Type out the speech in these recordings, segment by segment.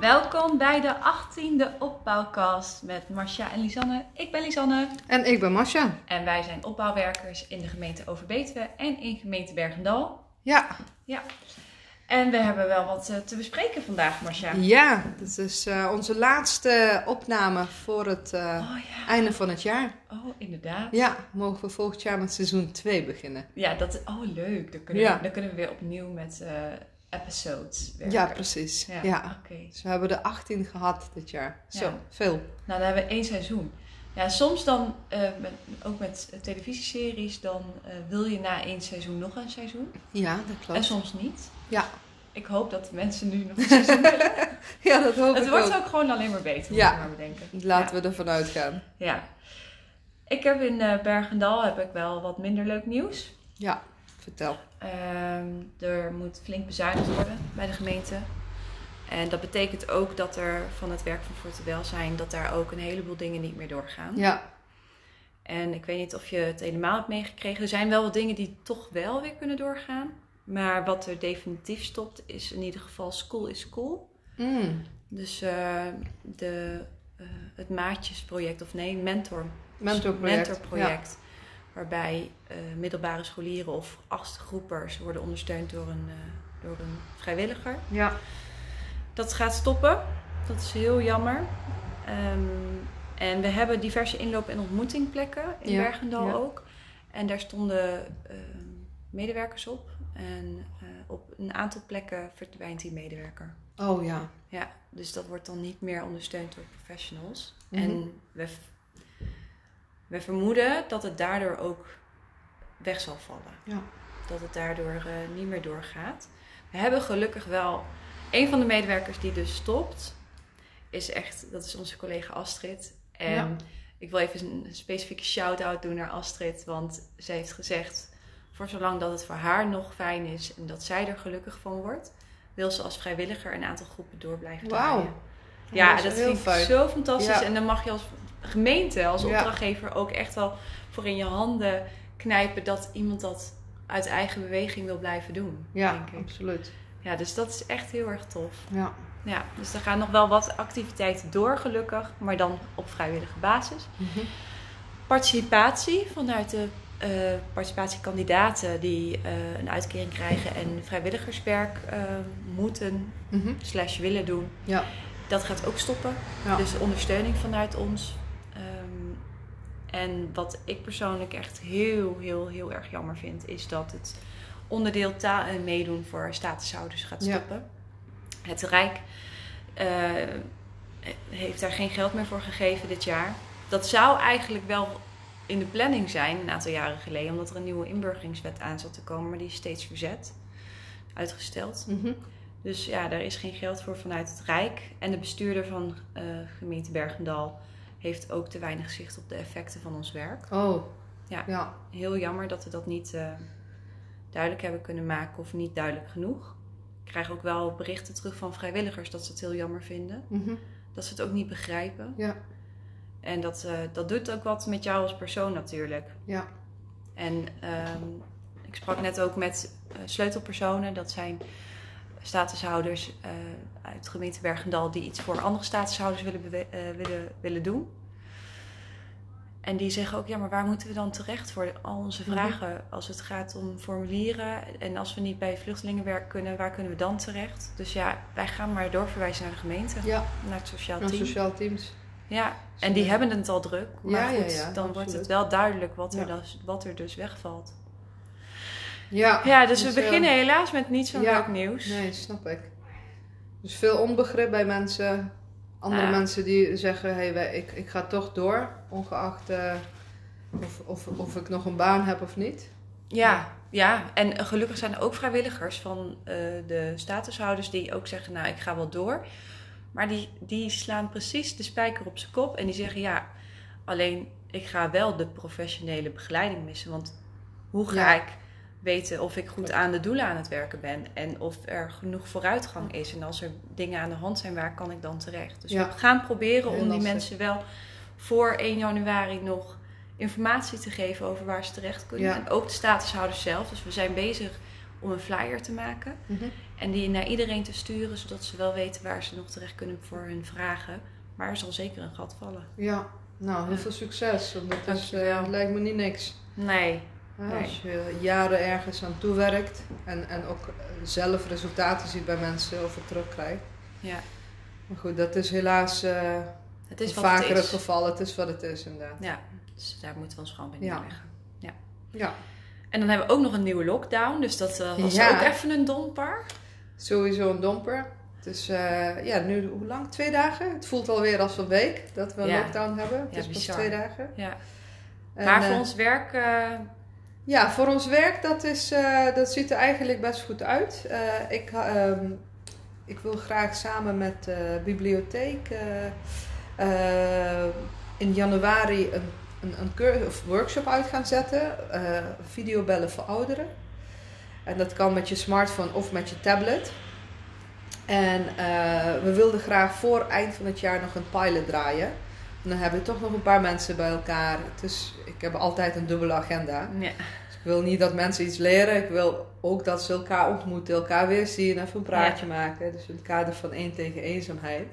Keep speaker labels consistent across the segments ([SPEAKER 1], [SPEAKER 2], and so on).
[SPEAKER 1] Welkom bij de 18e opbouwkast met Marcia en Lisanne. Ik ben Lisanne
[SPEAKER 2] En ik ben Masha.
[SPEAKER 1] en wij zijn opbouwwerkers in de gemeente Overbetuwe en in gemeente Bergendal.
[SPEAKER 2] Ja,
[SPEAKER 1] En we hebben wel wat eh, te bespreken vandaag, Marcia.
[SPEAKER 2] ja, dit is eh, onze laatste opname voor het eh,
[SPEAKER 1] Oh ja,
[SPEAKER 2] einde van het jaar.
[SPEAKER 1] oh inderdaad.
[SPEAKER 2] Ja, mogen we volgend jaar met seizoen 2 beginnen.
[SPEAKER 1] Ja, dat is, oh leuk. Dan kunnen, we-
[SPEAKER 2] Ja.
[SPEAKER 1] dan kunnen we weer opnieuw met eh, episodes werken.
[SPEAKER 2] Ja, precies. Ja.
[SPEAKER 1] Oké.
[SPEAKER 2] Dus we hebben er 18 gehad dit jaar. Zo,
[SPEAKER 1] Ja.
[SPEAKER 2] veel.
[SPEAKER 1] Nou, dan hebben we één seizoen. Ja, soms dan, eh, met- ook met eh, televisieseries, dan eh, wil je na één seizoen nog een seizoen.
[SPEAKER 2] Ja, dat klopt.
[SPEAKER 1] En soms niet.
[SPEAKER 2] Ja.
[SPEAKER 1] Ik hoop dat de mensen nu nog een seizoen willen.
[SPEAKER 2] Ja, dat hoop
[SPEAKER 1] Het
[SPEAKER 2] ik
[SPEAKER 1] wordt
[SPEAKER 2] ook.
[SPEAKER 1] ook gewoon alleen maar beter,
[SPEAKER 2] Ja.
[SPEAKER 1] moet ik maar bedenken.
[SPEAKER 2] Laten we ervan uitgaan.
[SPEAKER 1] we. Ja. Ik heb in eh, Bergendal heb ik wel wat minder leuk nieuws.
[SPEAKER 2] Ja, vertel.
[SPEAKER 1] Ehm, er moet flink bezuinigd worden bij de gemeente. En dat betekent ook dat er van het werk van Forte Welzijn, dat daar ook een heleboel dingen niet meer doorgaan.
[SPEAKER 2] Ja,
[SPEAKER 1] En ik weet niet of je het helemaal hebt meegekregen. Er zijn wel wat dingen die toch wel weer kunnen doorgaan. Maar wat er definitief stopt is in ieder geval school is school.
[SPEAKER 2] Mm.
[SPEAKER 1] Dus eh, de, eh, het maatjesproject, of nee, mentor,
[SPEAKER 2] mentorproject.
[SPEAKER 1] mentorproject, Waarbij eh, middelbare scholieren of achtgroepers worden ondersteund door een, eh, door een vrijwilliger.
[SPEAKER 2] Ja. ja,
[SPEAKER 1] Dat gaat stoppen. Dat is heel jammer. Ehm, en we hebben diverse inloop- en ontmoetingplekken in
[SPEAKER 2] Ja,
[SPEAKER 1] Bergendal
[SPEAKER 2] ja.
[SPEAKER 1] ook. En daar stonden ehm, medewerkers op. En eh, op een aantal plekken verdwijnt die medewerker.
[SPEAKER 2] Oh ja.
[SPEAKER 1] Ja, dus dat wordt dan niet meer ondersteund door professionals.
[SPEAKER 2] Mhm.
[SPEAKER 1] En we, v- we vermoeden dat het daardoor ook weg zal vallen.
[SPEAKER 2] Ja.
[SPEAKER 1] Dat het daardoor eh, niet meer doorgaat. We hebben gelukkig wel een van de medewerkers die dus stopt, is echt, dat is onze collega Astrid. En
[SPEAKER 2] Ja.
[SPEAKER 1] ik wil even een specifieke shout-out doen naar Astrid, want zij heeft gezegd: voor zolang dat het voor haar nog fijn is en dat zij er gelukkig van wordt, wil ze als vrijwilliger een aantal groepen door blijven
[SPEAKER 2] Wauw.
[SPEAKER 1] draaien. Ja,
[SPEAKER 2] is
[SPEAKER 1] dat
[SPEAKER 2] heel
[SPEAKER 1] vind
[SPEAKER 2] fijn.
[SPEAKER 1] ik zo fantastisch.
[SPEAKER 2] Ja.
[SPEAKER 1] En dan mag je als gemeente, als
[SPEAKER 2] Ja.
[SPEAKER 1] opdrachtgever ook echt wel voor in je handen knijpen dat iemand dat uit eigen beweging wil blijven doen.
[SPEAKER 2] Ja,
[SPEAKER 1] denk ik.
[SPEAKER 2] absoluut.
[SPEAKER 1] Ja, dus dat is echt heel erg tof.
[SPEAKER 2] Ja.
[SPEAKER 1] Ja, dus er gaan nog wel wat activiteiten door, gelukkig, maar dan op vrijwillige basis.
[SPEAKER 2] Mhm.
[SPEAKER 1] Participatie vanuit de eh, participatiekandidaten die eh, een uitkering krijgen en vrijwilligerswerk eh, moeten
[SPEAKER 2] Mhm.
[SPEAKER 1] slash willen doen.
[SPEAKER 2] Ja.
[SPEAKER 1] Dat gaat ook stoppen.
[SPEAKER 2] Ja.
[SPEAKER 1] Dus ondersteuning vanuit ons. Ehm, en wat ik persoonlijk echt heel, heel, heel erg jammer vind, is dat het onderdeel taal en meedoen voor statushouders gaat
[SPEAKER 2] Ja.
[SPEAKER 1] stoppen. Het Rijk eh, heeft daar geen geld meer voor gegeven dit jaar. Dat zou eigenlijk wel in de planning zijn een aantal jaren geleden, omdat er een nieuwe inburgeringswet aan zat te komen, maar die is steeds verzet, uitgesteld.
[SPEAKER 2] Mhm.
[SPEAKER 1] Dus ja, daar is geen geld voor vanuit het Rijk. En de bestuurder van eh, gemeente Bergendal heeft ook te weinig zicht op de effecten van ons werk.
[SPEAKER 2] Oh.
[SPEAKER 1] Ja.
[SPEAKER 2] ja.
[SPEAKER 1] Heel jammer dat we dat niet eh, duidelijk hebben kunnen maken of niet duidelijk genoeg. Ik krijg ook wel berichten terug van vrijwilligers dat ze het heel jammer vinden.
[SPEAKER 2] Mhm.
[SPEAKER 1] Dat ze het ook niet begrijpen.
[SPEAKER 2] Ja.
[SPEAKER 1] En dat, eh, dat doet ook wat met jou als persoon natuurlijk.
[SPEAKER 2] Ja.
[SPEAKER 1] En ehm, ik sprak net ook met eh, sleutelpersonen. Dat zijn statushouders eh, uit de gemeente Bergendal die iets voor andere statushouders willen, bewe- eh, willen, willen doen. En die zeggen ook, ja, maar waar moeten we dan terecht voor al onze
[SPEAKER 2] Mhm.
[SPEAKER 1] vragen? Als het gaat om formulieren en als we niet bij vluchtelingenwerk kunnen, waar kunnen we dan terecht? Dus ja, wij gaan maar doorverwijzen naar de gemeente,
[SPEAKER 2] Ja,
[SPEAKER 1] naar het sociaal
[SPEAKER 2] en
[SPEAKER 1] team.
[SPEAKER 2] sociaal teams.
[SPEAKER 1] Ja, en die hebben het al druk. Maar
[SPEAKER 2] Ja, ja,
[SPEAKER 1] goed,
[SPEAKER 2] ja,
[SPEAKER 1] dan wordt
[SPEAKER 2] absoluut.
[SPEAKER 1] het wel duidelijk wat er,
[SPEAKER 2] Ja.
[SPEAKER 1] dus, wat er dus wegvalt.
[SPEAKER 2] Ja,
[SPEAKER 1] Ja, dus we
[SPEAKER 2] Dus,
[SPEAKER 1] beginnen helaas met niet zo'n
[SPEAKER 2] ja.
[SPEAKER 1] leuk nieuws.
[SPEAKER 2] nee, snap ik. Dus veel onbegrip bij mensen. Andere
[SPEAKER 1] Ja.
[SPEAKER 2] mensen die zeggen, hey, wij- ik, ik ga toch door, ongeacht eh, of, of, of ik nog een baan heb of niet.
[SPEAKER 1] Ja, ja, en eh, gelukkig zijn er ook vrijwilligers van eh, de statushouders die ook zeggen, nou ik ga wel door. Maar die, die slaan precies de spijker op zijn kop en die zeggen, ja, alleen ik ga wel de professionele begeleiding missen. Want hoe ga
[SPEAKER 2] Ja.
[SPEAKER 1] ik weten of ik goed aan de doelen aan het werken ben. En of er genoeg vooruitgang is. En als er dingen aan de hand zijn, waar kan ik dan terecht? Dus
[SPEAKER 2] Ja.
[SPEAKER 1] we gaan proberen
[SPEAKER 2] Heel
[SPEAKER 1] om die
[SPEAKER 2] lastig.
[SPEAKER 1] mensen wel voor 1 januari nog informatie te geven over waar ze terecht kunnen.
[SPEAKER 2] Ja.
[SPEAKER 1] En ook de statushouders zelf. Dus we zijn bezig om een flyer te maken.
[SPEAKER 2] Mhm.
[SPEAKER 1] En die naar iedereen te sturen, zodat ze wel weten waar ze nog terecht kunnen voor hun vragen. Maar er zal zeker een gat vallen.
[SPEAKER 2] Ja, nou, heel
[SPEAKER 1] Ja.
[SPEAKER 2] veel succes. Want dat is,
[SPEAKER 1] Dankjewel.
[SPEAKER 2] eh, lijkt me niet niks.
[SPEAKER 1] Nee.
[SPEAKER 2] Ja,
[SPEAKER 1] Nee.
[SPEAKER 2] Als je jaren ergens aan toewerkt en, en ook eh, zelf resultaten ziet bij mensen of het terugkrijgt.
[SPEAKER 1] Ja.
[SPEAKER 2] Maar goed, dat is helaas eh
[SPEAKER 1] Het
[SPEAKER 2] een
[SPEAKER 1] is wat het
[SPEAKER 2] vaker het
[SPEAKER 1] is.
[SPEAKER 2] geval. Het is wat het is inderdaad.
[SPEAKER 1] Ja, dus daar moeten we ons gewoon bij
[SPEAKER 2] Ja.
[SPEAKER 1] neerleggen.
[SPEAKER 2] Ja,
[SPEAKER 1] En dan hebben we ook nog een nieuwe lockdown. Dus dat eh, was
[SPEAKER 2] Ja.
[SPEAKER 1] ook even een domper.
[SPEAKER 2] sowieso een domper. Dus eh, ja, nu hoe lang? Twee dagen? Het voelt alweer als een week dat we een
[SPEAKER 1] Ja.
[SPEAKER 2] lockdown hebben. Het
[SPEAKER 1] Ja,
[SPEAKER 2] is pas
[SPEAKER 1] bizar.
[SPEAKER 2] twee dagen.
[SPEAKER 1] Ja.
[SPEAKER 2] En,
[SPEAKER 1] maar voor
[SPEAKER 2] eh,
[SPEAKER 1] ons werk... eh,
[SPEAKER 2] Ja, voor ons werk, dat, is, eh, dat ziet er eigenlijk best goed uit. Eh, ik, ha- ehm, ik wil graag samen met de bibliotheek eh, eh, in januari een, een, een cur- of workshop uit gaan zetten. eh, videobellen voor ouderen. En dat kan met je smartphone of met je tablet. En eh, we wilden graag voor eind van het jaar nog een pilot draaien. En dan hebben we toch nog een paar mensen bij elkaar. Dus ik heb altijd een dubbele agenda.
[SPEAKER 1] ja.
[SPEAKER 2] Ik wil niet dat mensen iets leren. Ik wil ook dat ze elkaar ontmoeten, elkaar weer zien, even een praatje maken. Dus in het kader van één tegen eenzaamheid.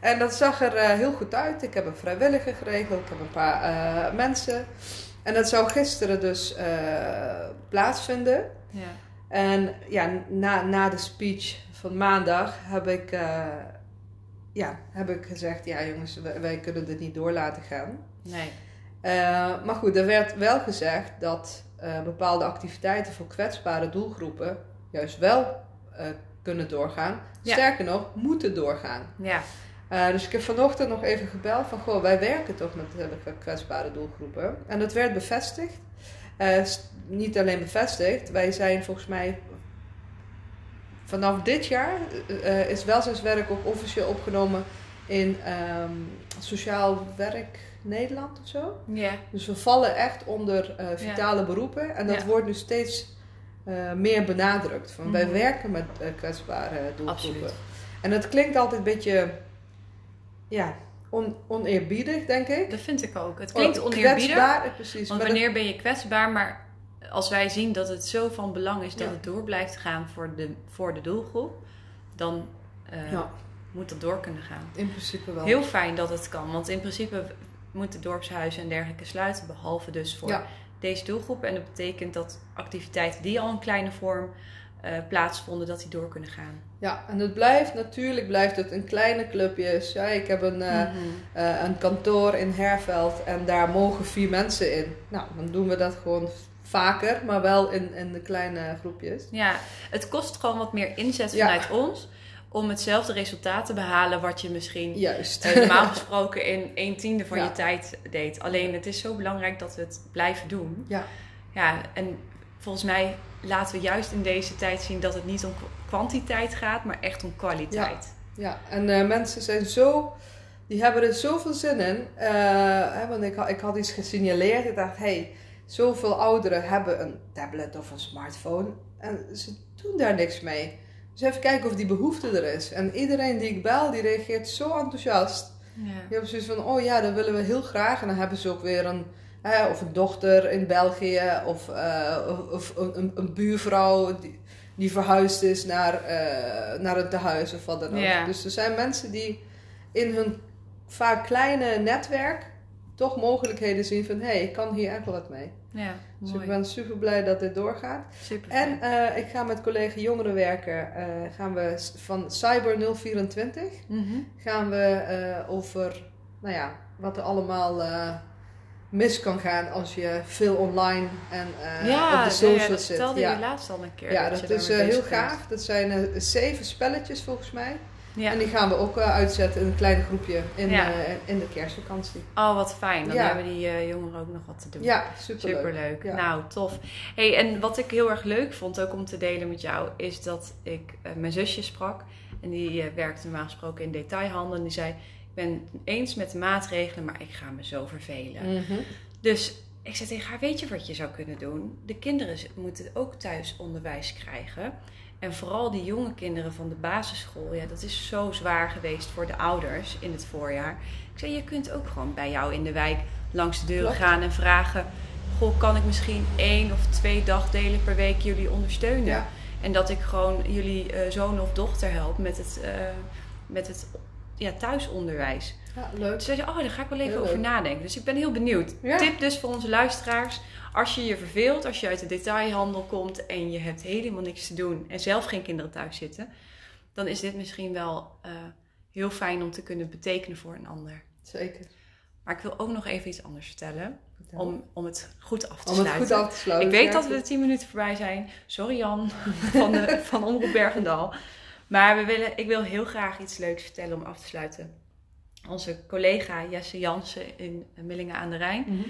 [SPEAKER 2] En dat zag er eh, heel goed uit. Ik heb een vrijwilliger geregeld, ik heb een paar eh, mensen. En dat zou gisteren dus eh, plaatsvinden.
[SPEAKER 1] Ja.
[SPEAKER 2] En ja, na, na de speech van maandag heb ik, eh, ja, heb ik gezegd: ja, jongens, wij, wij kunnen dit niet door laten gaan.
[SPEAKER 1] Nee.
[SPEAKER 2] Eh, maar goed, er werd wel gezegd dat eh, bepaalde activiteiten voor kwetsbare doelgroepen juist wel eh, kunnen doorgaan.
[SPEAKER 1] Ja.
[SPEAKER 2] Sterker nog, moeten doorgaan.
[SPEAKER 1] Ja.
[SPEAKER 2] Eh, dus ik heb vanochtend nog even gebeld van, goh, wij werken toch met eh, kwetsbare doelgroepen. En dat werd bevestigd. Eh, s- niet alleen bevestigd, wij zijn volgens mij vanaf dit jaar eh, eh, is welzijnswerk ook officieel opgenomen in ehm, Sociaal Werk Nederland of zo.
[SPEAKER 1] Ja.
[SPEAKER 2] Dus we vallen echt onder eh, vitale beroepen. En dat
[SPEAKER 1] Ja.
[SPEAKER 2] wordt nu steeds eh, meer benadrukt. Van, Wij
[SPEAKER 1] Mhm.
[SPEAKER 2] werken met eh, kwetsbare doelgroepen.
[SPEAKER 1] Absoluut.
[SPEAKER 2] En dat klinkt altijd een beetje ja, on, oneerbiedig, denk ik.
[SPEAKER 1] Dat vind ik ook. Het klinkt
[SPEAKER 2] Oh,
[SPEAKER 1] oneerbiedig.
[SPEAKER 2] kwetsbaar, eh, precies.
[SPEAKER 1] Want
[SPEAKER 2] maar dat-
[SPEAKER 1] wanneer ben je kwetsbaar? Maar als wij zien dat het zo van belang is dat
[SPEAKER 2] Ja.
[SPEAKER 1] het door blijft gaan voor de, voor de doelgroep, dan eh,
[SPEAKER 2] ja,
[SPEAKER 1] moet dat door kunnen gaan.
[SPEAKER 2] in principe wel.
[SPEAKER 1] Heel fijn dat het kan, want in principe moeten dorpshuizen en dergelijke sluiten, behalve dus voor
[SPEAKER 2] Ja.
[SPEAKER 1] deze doelgroep. En dat betekent dat activiteiten die al in kleine vorm eh, plaatsvonden, dat die door kunnen gaan.
[SPEAKER 2] Ja, en het blijft natuurlijk blijft het in kleine clubjes. Ja, ik heb een, eh,
[SPEAKER 1] Mhm.
[SPEAKER 2] eh, een kantoor in Herveld en daar mogen vier mensen in. Nou, dan doen we dat gewoon vaker, maar wel in, in de kleine groepjes.
[SPEAKER 1] Ja, het kost gewoon wat meer inzet
[SPEAKER 2] Ja.
[SPEAKER 1] vanuit ons om hetzelfde resultaat te behalen wat je misschien
[SPEAKER 2] Juist.
[SPEAKER 1] eh, normaal gesproken in een tiende van
[SPEAKER 2] Ja.
[SPEAKER 1] je tijd deed. Alleen het is zo belangrijk dat we het blijven doen.
[SPEAKER 2] Ja.
[SPEAKER 1] Ja, en volgens mij laten we juist in deze tijd zien dat het niet om k- kwantiteit gaat, maar echt om kwaliteit.
[SPEAKER 2] Ja, en eh, mensen zijn zo... Die hebben er zoveel zin in. Eh, hè, want ik, ha- ik had iets gesignaleerd. Ik dacht, hé, hey, zoveel ouderen hebben een tablet of een smartphone. En ze doen daar niks mee. Dus even kijken of die behoefte er is. En iedereen die ik bel, die reageert zo enthousiast.
[SPEAKER 1] Ja.
[SPEAKER 2] Je hebt zoiets van, oh ja, dat willen we heel graag. En dan hebben ze ook weer een, hè, of een dochter in België, of, eh, of, of een, een- een buurvrouw die, die verhuisd is naar, eh, naar een tehuis of wat dan ook.
[SPEAKER 1] Ja.
[SPEAKER 2] Dus er zijn mensen die in hun vaak kleine netwerk toch mogelijkheden zien van, hé, hey, ik kan hier echt wel wat mee.
[SPEAKER 1] Ja,
[SPEAKER 2] Dus
[SPEAKER 1] mooi.
[SPEAKER 2] ik ben super blij dat dit doorgaat.
[SPEAKER 1] Super.
[SPEAKER 2] En eh, ik ga met collega jongerenwerker, eh, gaan we s- van Cyber 024
[SPEAKER 1] Mhm.
[SPEAKER 2] gaan we eh, over nou ja, wat er allemaal eh, mis kan gaan als je veel online en eh,
[SPEAKER 1] ja,
[SPEAKER 2] op de
[SPEAKER 1] ja,
[SPEAKER 2] socials
[SPEAKER 1] ja, dat
[SPEAKER 2] zit.
[SPEAKER 1] vertelde
[SPEAKER 2] ja.
[SPEAKER 1] je laatst al een keer.
[SPEAKER 2] ja,
[SPEAKER 1] je
[SPEAKER 2] dat
[SPEAKER 1] daar
[SPEAKER 2] is
[SPEAKER 1] mee
[SPEAKER 2] eh, heel
[SPEAKER 1] bezig bent.
[SPEAKER 2] gaaf. Dat zijn eh, zeven spelletjes volgens mij.
[SPEAKER 1] Ja.
[SPEAKER 2] En die gaan we ook eh, uitzetten in een klein groepje in,
[SPEAKER 1] Ja.
[SPEAKER 2] eh, in de kerstvakantie.
[SPEAKER 1] Oh, wat fijn. Dan
[SPEAKER 2] Ja.
[SPEAKER 1] hebben die eh, jongeren ook nog wat te doen.
[SPEAKER 2] Ja, superleuk.
[SPEAKER 1] Superleuk.
[SPEAKER 2] Ja.
[SPEAKER 1] Nou, tof. Hey, en wat ik heel erg leuk vond ook om te delen met jou, is dat ik eh, mijn zusje sprak. En die eh, werkt normaal gesproken in detailhandel. En die zei, ik ben het eens met de maatregelen, maar ik ga me zo vervelen.
[SPEAKER 2] Mhm.
[SPEAKER 1] Dus Ik zei tegen haar, weet je wat je zou kunnen doen? De kinderen moeten ook thuis onderwijs krijgen. En vooral die jonge kinderen van de basisschool, ja, dat is zo zwaar geweest voor de ouders in het voorjaar. Ik zei, je kunt ook gewoon bij jou in de wijk langs de deuren
[SPEAKER 2] Klopt.
[SPEAKER 1] gaan en vragen... Goh, kan ik misschien één of twee dagdelen per week jullie ondersteunen?
[SPEAKER 2] Ja.
[SPEAKER 1] En dat ik gewoon jullie eh, zoon of dochter help met het, eh, met het ja, thuisonderwijs.
[SPEAKER 2] Ja, leuk.
[SPEAKER 1] Toen zei ze, oh, daar ga ik wel even
[SPEAKER 2] Heel
[SPEAKER 1] over
[SPEAKER 2] leuk.
[SPEAKER 1] nadenken. Dus ik ben heel benieuwd.
[SPEAKER 2] Ja.
[SPEAKER 1] Tip dus voor onze luisteraars. Als je je verveelt, als je uit de detailhandel komt en je hebt helemaal niks te doen en zelf geen kinderen thuis zitten, dan is dit misschien wel eh, heel fijn om te kunnen betekenen voor een ander.
[SPEAKER 2] Zeker.
[SPEAKER 1] Maar ik wil ook nog even iets anders vertellen om, om het goed af te
[SPEAKER 2] Om het
[SPEAKER 1] sluiten.
[SPEAKER 2] goed af te sluiten.
[SPEAKER 1] Ik weet
[SPEAKER 2] ja,
[SPEAKER 1] dat we de
[SPEAKER 2] goed.
[SPEAKER 1] 10 minuten voorbij zijn. Sorry Jan van, de, van Omroep Bergendal. Maar we willen, ik wil heel graag iets leuks vertellen om af te sluiten. Onze collega Jesse Jansen in Millingen aan de Rijn,
[SPEAKER 2] Mhm.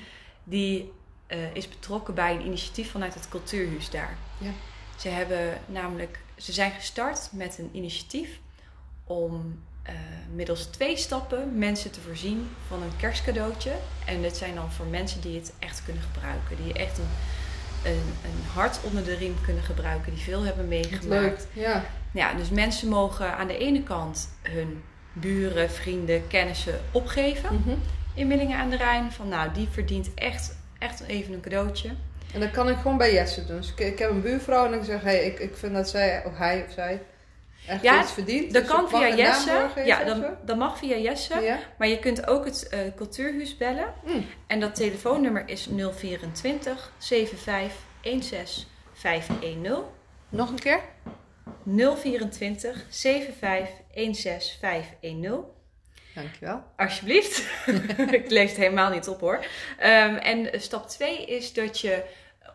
[SPEAKER 1] die eh, is betrokken bij een initiatief vanuit het cultuurhuis daar.
[SPEAKER 2] Ja.
[SPEAKER 1] Ze, hebben namelijk, ze zijn gestart met een initiatief om eh, middels twee stappen mensen te voorzien van een kerstcadeautje. En dit zijn dan voor mensen die het echt kunnen gebruiken. Die echt een, een, een hart onder de riem kunnen gebruiken. Die veel hebben
[SPEAKER 2] Wat
[SPEAKER 1] meegemaakt.
[SPEAKER 2] Leuk. Ja.
[SPEAKER 1] Ja, dus mensen mogen aan de ene kant hun buren, vrienden, kennissen opgeven.
[SPEAKER 2] Mhm.
[SPEAKER 1] In Millingen aan de Rijn. Van nou, die verdient echt, echt even een cadeautje.
[SPEAKER 2] En dat kan ik gewoon bij Jesse doen. Dus ik, ik heb een buurvrouw en ik zeg, hey, ik, ik vind dat zij, of hij of zij, echt
[SPEAKER 1] Ja,
[SPEAKER 2] iets verdient.
[SPEAKER 1] Dat
[SPEAKER 2] Dus
[SPEAKER 1] kan
[SPEAKER 2] ik mag
[SPEAKER 1] via
[SPEAKER 2] een naam
[SPEAKER 1] Jesse.
[SPEAKER 2] doorgeven
[SPEAKER 1] Ja,
[SPEAKER 2] of
[SPEAKER 1] dan-
[SPEAKER 2] zo.
[SPEAKER 1] dat mag via Jesse.
[SPEAKER 2] Ja.
[SPEAKER 1] Maar je kunt ook het eh, cultuurhuis bellen.
[SPEAKER 2] Mm.
[SPEAKER 1] En dat telefoonnummer is 024 75 16 510.
[SPEAKER 2] Nog een keer?
[SPEAKER 1] 024 75 16 510.
[SPEAKER 2] Dankjewel.
[SPEAKER 1] Alsjeblieft. ik lees het helemaal niet op hoor. Ehm, en stap 2 is dat je,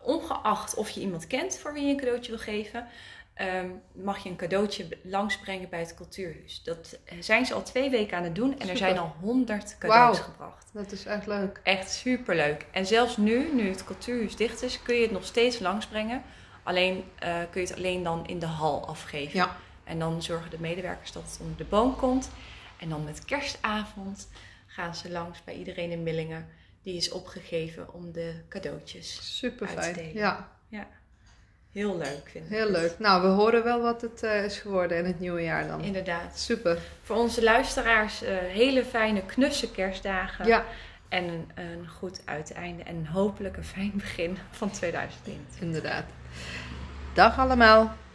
[SPEAKER 1] ongeacht of je iemand kent voor wie je een cadeautje wil geven, ehm, mag je een cadeautje b- langsbrengen bij het cultuurhuis. Dat zijn ze al twee weken aan het doen en er
[SPEAKER 2] Super.
[SPEAKER 1] zijn al 100 cadeaus
[SPEAKER 2] Wauw.
[SPEAKER 1] gebracht.
[SPEAKER 2] Dat is echt leuk.
[SPEAKER 1] Echt superleuk. En zelfs nu, nu het cultuurhuis dicht is, kun je het nog steeds langsbrengen. Alleen eh, kun je het alleen dan in de hal afgeven.
[SPEAKER 2] Ja.
[SPEAKER 1] En dan zorgen de medewerkers dat het onder de boom komt. En dan met kerstavond gaan ze langs bij iedereen in Millingen. Die is opgegeven om de cadeautjes.
[SPEAKER 2] Super
[SPEAKER 1] Uit te
[SPEAKER 2] fijn.
[SPEAKER 1] delen.
[SPEAKER 2] Ja,
[SPEAKER 1] Heel leuk vind ik.
[SPEAKER 2] heel leuk. Nou, we horen wel wat het eh, is geworden in het nieuwe jaar dan.
[SPEAKER 1] Inderdaad.
[SPEAKER 2] Super.
[SPEAKER 1] Voor onze luisteraars eh, hele fijne knusse kerstdagen.
[SPEAKER 2] Ja,
[SPEAKER 1] En een, een goed uiteinde. En hopelijk een fijn begin van 2020.
[SPEAKER 2] inderdaad. Dag allemaal.